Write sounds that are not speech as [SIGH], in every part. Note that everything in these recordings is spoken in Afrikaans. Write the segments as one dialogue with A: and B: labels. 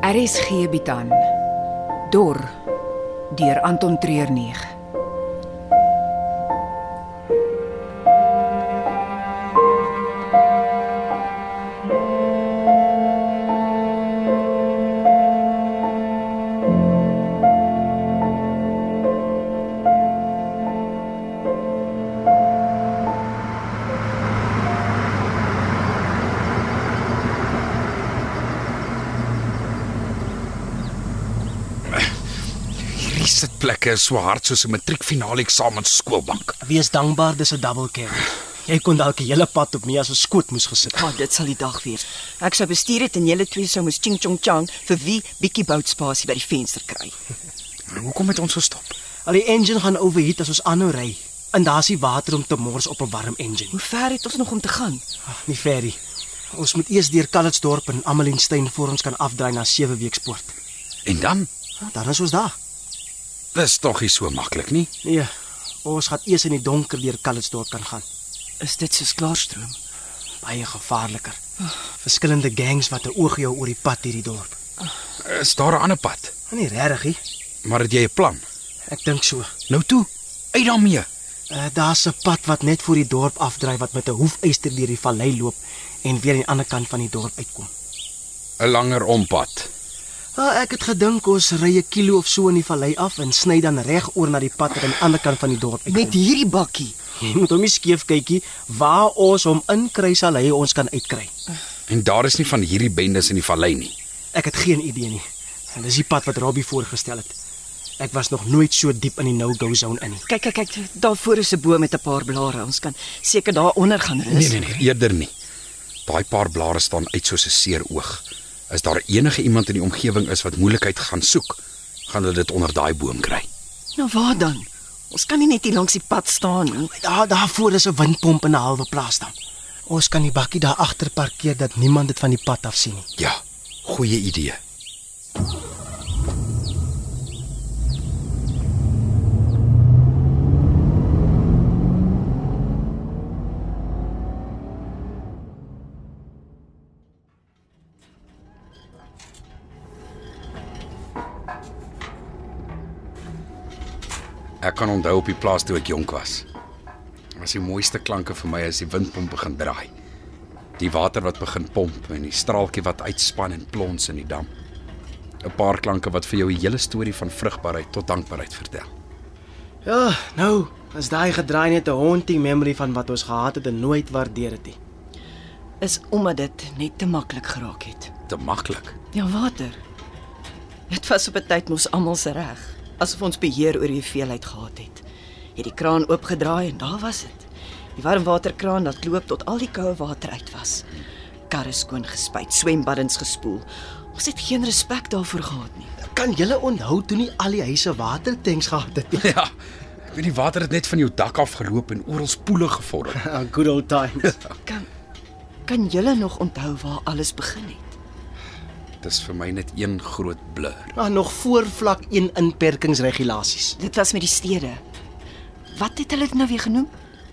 A: RSG bied aan Dor deur Anton Treuer 9.
B: Hierdie sitplekke is so hard soos 'n matriekfinale eksamen se skoolbank.
C: Wees dankbaar dis 'n double cab. Jy kon dalk die hele pad op my as 'n skoot moes gesit het.
D: Ja, dit sal die dag wees. Ek sou bestuur het en julle twee sou moes ching chong chang vir wie bietjie boutspasie by die venster kry.
B: Nou, Hoekom het ons gestop?
C: Al die engine gaan overheat as ons aanhou ry. En daar's die water om te mors op 'n warm engine.
D: Hoe ver het ons nog om te gaan?
C: Ag, nie ferry. Ons moet eers deur Calitzdorp en Amelinstein voor ons kan afdraai na Sewe Weekspoort.
B: En dan?
C: Ja, Dan is ons daar.
B: Dis tog nie so maklik nie.
C: Nee, ons gaan eers in die donker deur Calitzdorp kan gaan.
D: Is dit soos klaarstroom?
C: Baie gevaarliker. Verskillende gangs wat 'n oog jou oor die pad hierdie dorp.
B: Is daar 'n ander pad?
C: Maar nie regtig nie.
B: Maar het jy 'n plan?
C: Ek dink so.
B: Nou toe. Uit daarmee.
C: Uh, Daar's 'n pad wat net voor die dorp afdry wat met 'n hoefyster deur die vallei loop en weer aan die ander kant van die dorp uitkom.
B: 'n Langer ompad.
C: Wel, ek het gedink ons ry 'n kilo of so in die vallei af en sny dan reg oor na die pad wat aan die ander kant van die dorp uitkom.
D: Met hierdie bakkie.
C: jy moet hom nie skeef kykie waar ons hom inkry sal hy ons kan uitkry.
B: En daar is nie van hierdie bendes in die vallei nie.
C: Ek het geen idee nie. En dis die pad wat Robbie voorgestel het. Ek was nog nooit so diep in die no-go zone in nie.
D: Kyk, kyk, kyk, daar voor is 'n boom met 'n paar blare. Ons kan seker daaronder gaan rus.
B: nee, eerder nie. Daai paar blare staan uit soos 'n seer oog. As daar enige iemand in die omgewing is wat moeilikheid gaan soek, gaan hulle dit onder daai boom kry.
D: Nou waar dan? Ons kan nie net hier langs die pad staan nie.
C: Daar Ja, daarvoor is 'n windpomp in 'n halwe plaas dan. Ons kan die bakkie daar agter parkeer dat niemand dit van die pad af sien nie.
B: Ja, goeie idee. Ek kan onthou op die plaas toe ek jonk was. Was die mooiste klanke vir my as die windpomp begin draai. Die water wat begin pomp en die straaltjie wat uitspan en plons in die dam. 'n Paar klanke wat vir jou die hele storie van vrugbaarheid tot dankbaarheid vertel.
C: Ja, nou, as daai gedraai net 'n haunting memory van wat ons gehad het en nooit waardeer het nie.
D: Is omdat dit net te maklik geraak het.
B: Te maklik. [LAUGHS]
D: Ja, water. Dit was op 'n tyd mos almal se reg, asof ons beheer oor die hoeveelheid gehad het. Het die kraan oopgedraai en daar was dit. Die warmwaterkraan wat loop tot al die koue water uit was. Karre skoon gespuit, swembaddens gespoel. Ons het geen respek daarvoor gehad nie.
C: Kan julle onthou toe nie al die huise watertanks gehad het nie?
B: Ja. Ek weet die water het net van jou dak af geloop en oral spoele gevorm.
C: Ah, [LAUGHS] Good old times.
D: Kan kan julle nog onthou waar alles begin het?
B: Dis vir my net een groot blur.
C: [LAUGHS] Maar nog voor vlak 1 inperkingsregulasies.
D: Dit was met die stede. Wat het hulle dit nou weer genoem?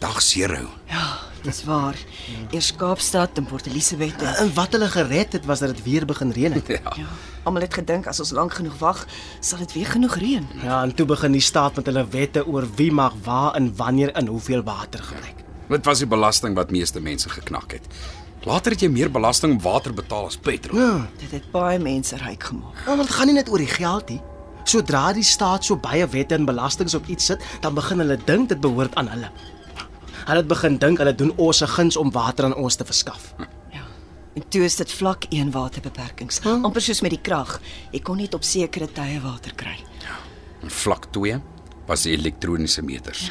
B: Dag 0.
D: Ja, dis waar. [LAUGHS] Eers Kaapstad en Port Elizabeth. En...
C: En wat hulle gered het was dat dit weer begin reën het.
B: [LAUGHS] Ja.
D: Ja, almal het gedink as ons lank genoeg wag, sal dit weer genoeg reën.
C: Ja, en toe begin die staat met hulle wette oor wie mag waar en wanneer en hoeveel water gebruik.
B: Dit was die belasting wat meeste mense geknak het. Later het jy meer belasting op water betaal as petrol.
C: Ja.
D: Dit het baie mense ryk gemaak.
C: Ja, maar dit gaan nie net oor die geld nie. Sodra die staat so baie wette en belastings op iets sit, dan begin hulle dink dit behoort aan hulle. Hulle het begin dink hulle doen ons se guns om water aan ons te verskaf.
D: Ja. En toe is dit vlak 1 waterbeperkings, hmm. amper soos met die krag. Jy kon net op sekere tye water kry.
B: In vlak 2 was die elektroniese meters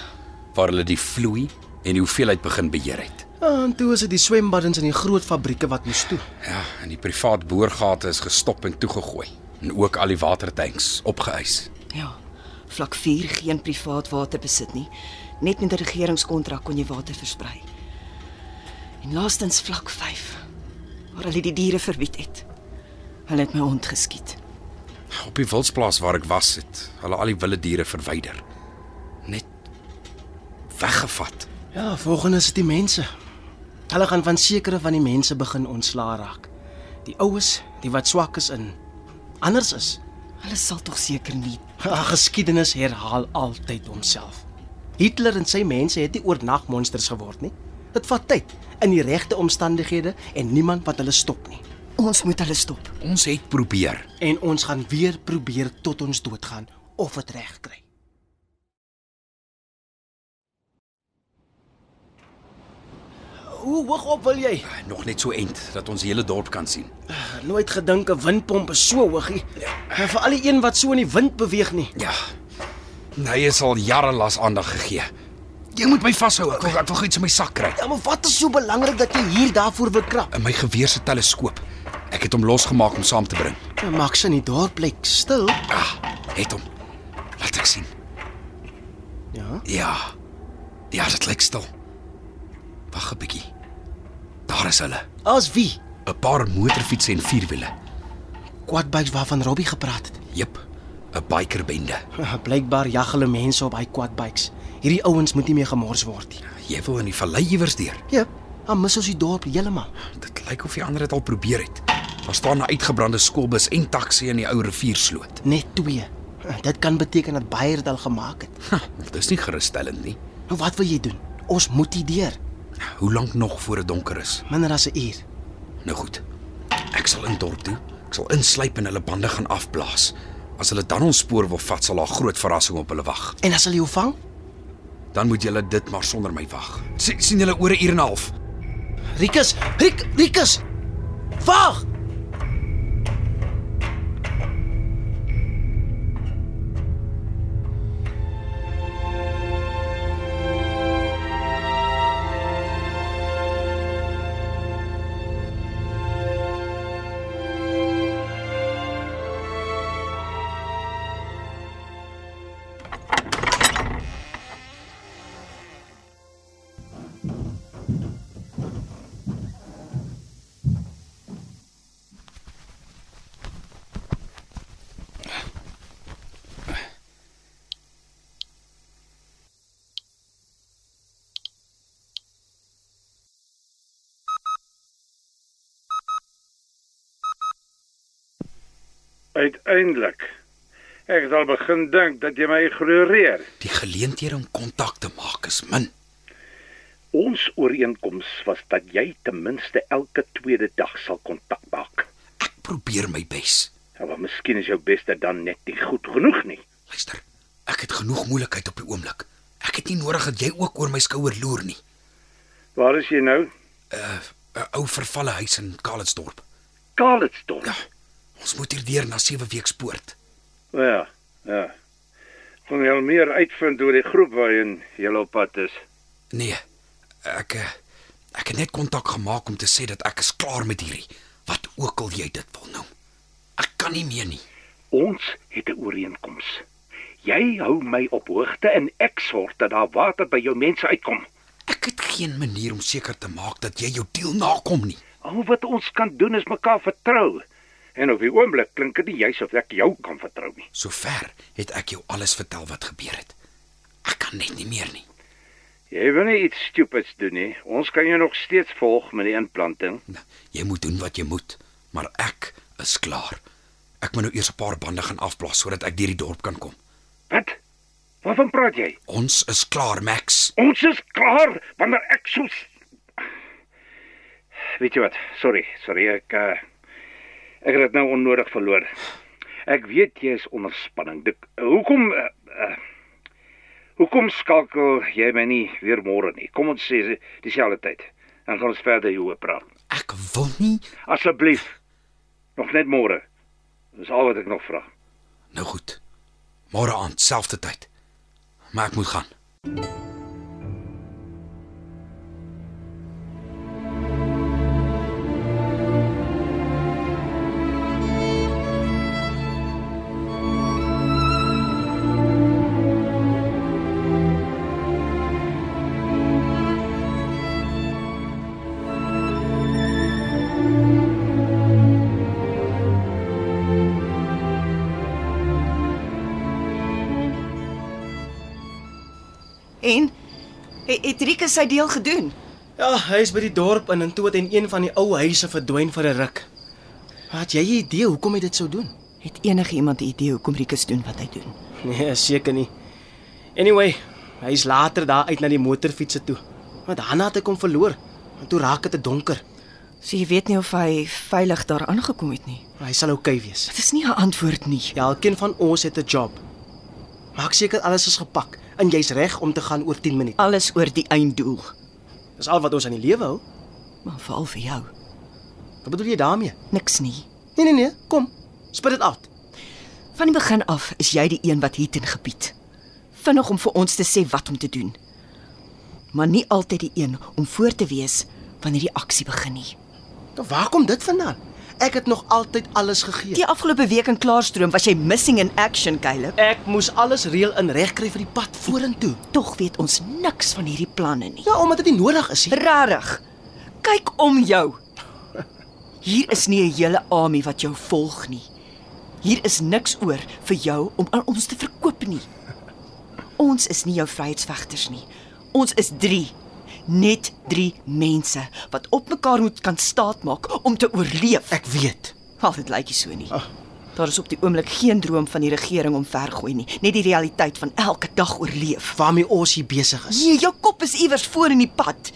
B: waar hulle die vloei en die hoeveelheid begin beheer het.
C: Ja, En toe is dit die swembaddens in die groot fabrieke wat moes toe.
B: Ja, en die privaat boorgate is gestop en toegegooi en ook al die watertanks opgeëis.
D: Ja. Vlak 4 geen privaat water besit nie. Net met 'n regeringskontrak kon jy water versprei. En laastens vlak 5 waar hulle die diere verbied het. Hulle het my hond geskiet.
B: Op die wildsplaas waar ek was het hulle al die wilde diere verwyder. Net weggevat.
C: Ja, volgende is dit die mense. Hulle gaan van sekere van die mense begin ontslaa raak. Die oues, die wat swak is in anders is.
D: Hulle sal tog seker nie.
C: Ag, geskiedenis herhaal altyd homself. Hitler en sy mense het nie oornag monsters geword nie. Dit vat tyd, in die regte omstandighede en niemand wat hulle stop nie.
D: Ons moet hulle stop.
B: Ons het probeer.
C: En ons gaan weer probeer tot ons doodgaan of dit reg kry. Hoe hoog op wil jy?
B: Nog net so end dat ons die hele dorp kan sien.
C: Nooit gedink 'n windpomp is so hoog nie. En vir al die een wat so in die wind beweeg nie.
B: Ja. Hy is al jare lank aandag gegee. Jy moet my vashou. Ek wil ek wil gou iets in my sak kry.
C: Ja, maar wat is so belangrik dat jy hier daarvoor wil krap?
B: In my geweer se teleskoop. Ek het hom losgemaak om saam te bring.
C: Ja, Max in die dorp bly stil.
B: Ah, het hom. Laat ek sien.
C: Ja.
B: Ja. Ja, dit lyk stil. Wag 'n bietjie. Daar is hulle.
C: As wie?
B: 'n Paar motorfietsse en vierwiele.
C: Quadbikes waarvan Robbie gepraat [LAUGHS] het.
B: Jep. 'n Bikerbende.
C: Ja, Blykbaar jag hulle mense op hy quadbikes. Hierdie ouens moet nie meer gemors word nie.
B: Jy wil in die vallei iewers deur.
C: Ja, dan mis ons die dorp heeltemal.
B: Dit lyk of die ander dit al probeer het. Daar staan 'n uitgebrande skoolbus en taxi in die ou riviersloot.
C: Net twee. [LAUGHS] Dit kan beteken dat Baier dit al gemaak het.
B: Ha, dis nie gerusstellend nie.
C: Nou wat wil jy doen? Ons moet hier deur.
B: Hoe lank nog voor dit donker is?
C: Minder as 'n uur.
B: Nou goed. Ek sal in dorp toe. Ek sal insluip en hulle bande gaan afblaas. As hulle dan ons spoor wil vat, sal daar groot verrassing op hulle wag.
C: En as hulle jou vang,
B: Dan moet julle dit maar sonder my wag. Sien, sien julle oor 'n uur en 'n half.
C: Rikus, Rik, Rikus. Wag!
E: Uiteindelik. Ek het al begin dink dat jy my ignoreer.
B: Die geleenthede om kontak te maak is min.
F: Ons ooreenkoms was dat jy ten minste elke tweede dag sal kontak maak.
B: Ek probeer my bes.
F: Nou, maar miskien is jou beste dan net nie goed genoeg nie.
B: Luister, ek het genoeg moeilikheid op die oomblik. Ek het nie nodig dat jy ook oor my skouer loer nie.
E: Waar is jy nou?
B: 'n 'n ou vervalle huis in Kalitsdorp.
F: Kalitsdorp.
B: Ja. Ons moet hier deur na 7 week spoort.
E: O Ja, ja. Kon jy al meer uitvind oor die groep waarin jy op pad is?
B: Nee. Ek eh, ek het net kontak gemaak om te sê dat ek is klaar met hierdie. Wat ook al jy dit wil noem. Ek kan nie meer nie.
F: Ons het 'n ooreenkoms. Jy hou my op hoogte en ek sorg dat daar water by jou mense uitkom.
B: Ek het geen manier om seker te maak dat jy jou deel nakom nie.
F: Al wat ons kan doen is mekaar vertrou.
E: En op die oomblik klink dit nie juis of ek jou kan vertrou nie.
B: Sover het ek jou alles vertel wat gebeur het. Ek kan net nie meer nie.
E: Jy wil nie iets stupids doen nie. Ons kan jou nog steeds volg met die implanting.
B: Nou, Jy moet doen wat jy moet, maar ek is klaar. Ek moet nou eers 'n paar bande gaan afblaas sodat ek deur die dorp kan kom.
E: Wat? Waarvan praat jy?
B: Ons is klaar, Max.
E: Ons is klaar wanneer ek so Weet jy wat? Sorry, sorry ek uh, ek het dit nou onnodig verloor. Ek weet jy is onder spanning. Dit, hoekom uh, uh, hoekom skakel jy my nie weer môre nie? Kom ons sê dieselfde tyd. Dan gaan ons verder hieroor praat.
B: Ek wil nie.
E: Asseblief. Nog net môre. Dis al wat ek nog vra.
B: Nou goed. Môre aand, selfde tyd. Maar ek moet gaan.
D: En he- het Rikus sy deel gedoen?
C: Ja, hy is by die dorp in en toe het in een van die ou huise verdwyn vir 'n ruk. Wat jy 'n idee hoekom hy dit sou doen?
D: Het enige iemand 'n idee hoekom Rikus doen wat hy doen?
C: [LAUGHS] Nee, seker nie. Anyway, hy's later daar uit na die motorfietsse toe. Want Hanna het hom verloor. En toe raak dit donker.
D: So jy weet nie of hy veilig daar aangekom het nie.
C: Maar hy sal oukei okay wees.
D: Dit is nie 'n antwoord nie.
C: Ja, elkeen van ons het 'n job. Maak seker alles is gepak en jy's reg om te gaan oor 10 minute.
D: Alles oor die einddoel,
C: Dis al wat ons aan die lewe hou.
D: maar veral vir jou.
C: Wat bedoel jy daarmee?
D: Niks nie.
C: Nee nee nee, kom. Spit dit uit.
D: Van die begin af is jy die een wat hier ten gebied. Vinnig om vir ons te sê wat om te doen. Maar nie altyd die een om voor te wees wanneer die aksie begin nie.
C: Nou, waar kom dit vandaan? Ek het nog altyd alles gegee.
D: Die afgelope week in Klaarstroom was jy missing in action, Caleb.
C: Ek moes alles reël en regkry vir die pad vorentoe.
D: Tog weet ons niks van hierdie planne nie.
C: Ja, omdat dit nie nodig is nie.
D: Rarig. Kyk om jou. Hier is nie 'n hele army wat jou volg nie. Hier is niks oor vir jou om aan ons te verkoop nie. Ons is nie jou vryheidsvegters nie. Ons is 3. Net 3 mense wat op mekaar moet kan staatmaak om te oorleef.
C: Ek weet.
D: Al dit lyk nie so nie. Daar is op die oomblik geen droom van die regering om vergooi nie, net die realiteit van elke dag oorleef.
C: waarmee ons hier besig is.
D: Nee, jou kop is iewers voor in die pad.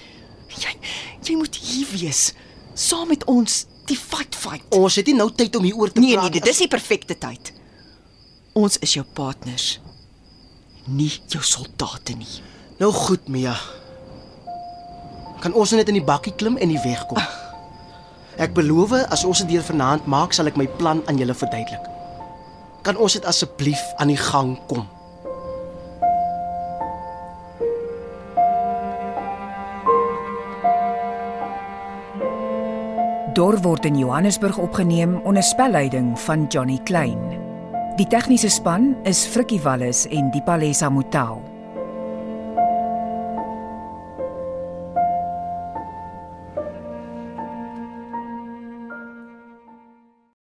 D: Jy jy moet hier wees saam met ons die fight fight.
C: Ons het nie nou tyd om hieroor te
D: Nee nee,
C: praat.
D: dit is die perfekte tyd. Ons is jou partners. Nie jou soldate nie.
C: nou goed, Mia. Kan ons nou net in die bakkie klim en die weg
D: Ah.
C: kom? Ek beloof, as ons dit deur vanaand maak, sal ek my plan aan julle verduidelik. Kan ons dit asseblief aan die gang kom?
A: Dor word in Johannesburg opgeneem onder spelleiding van Johnny Klein. Die tegniese span is Frikkie Wallis en Dipalesa Motelo.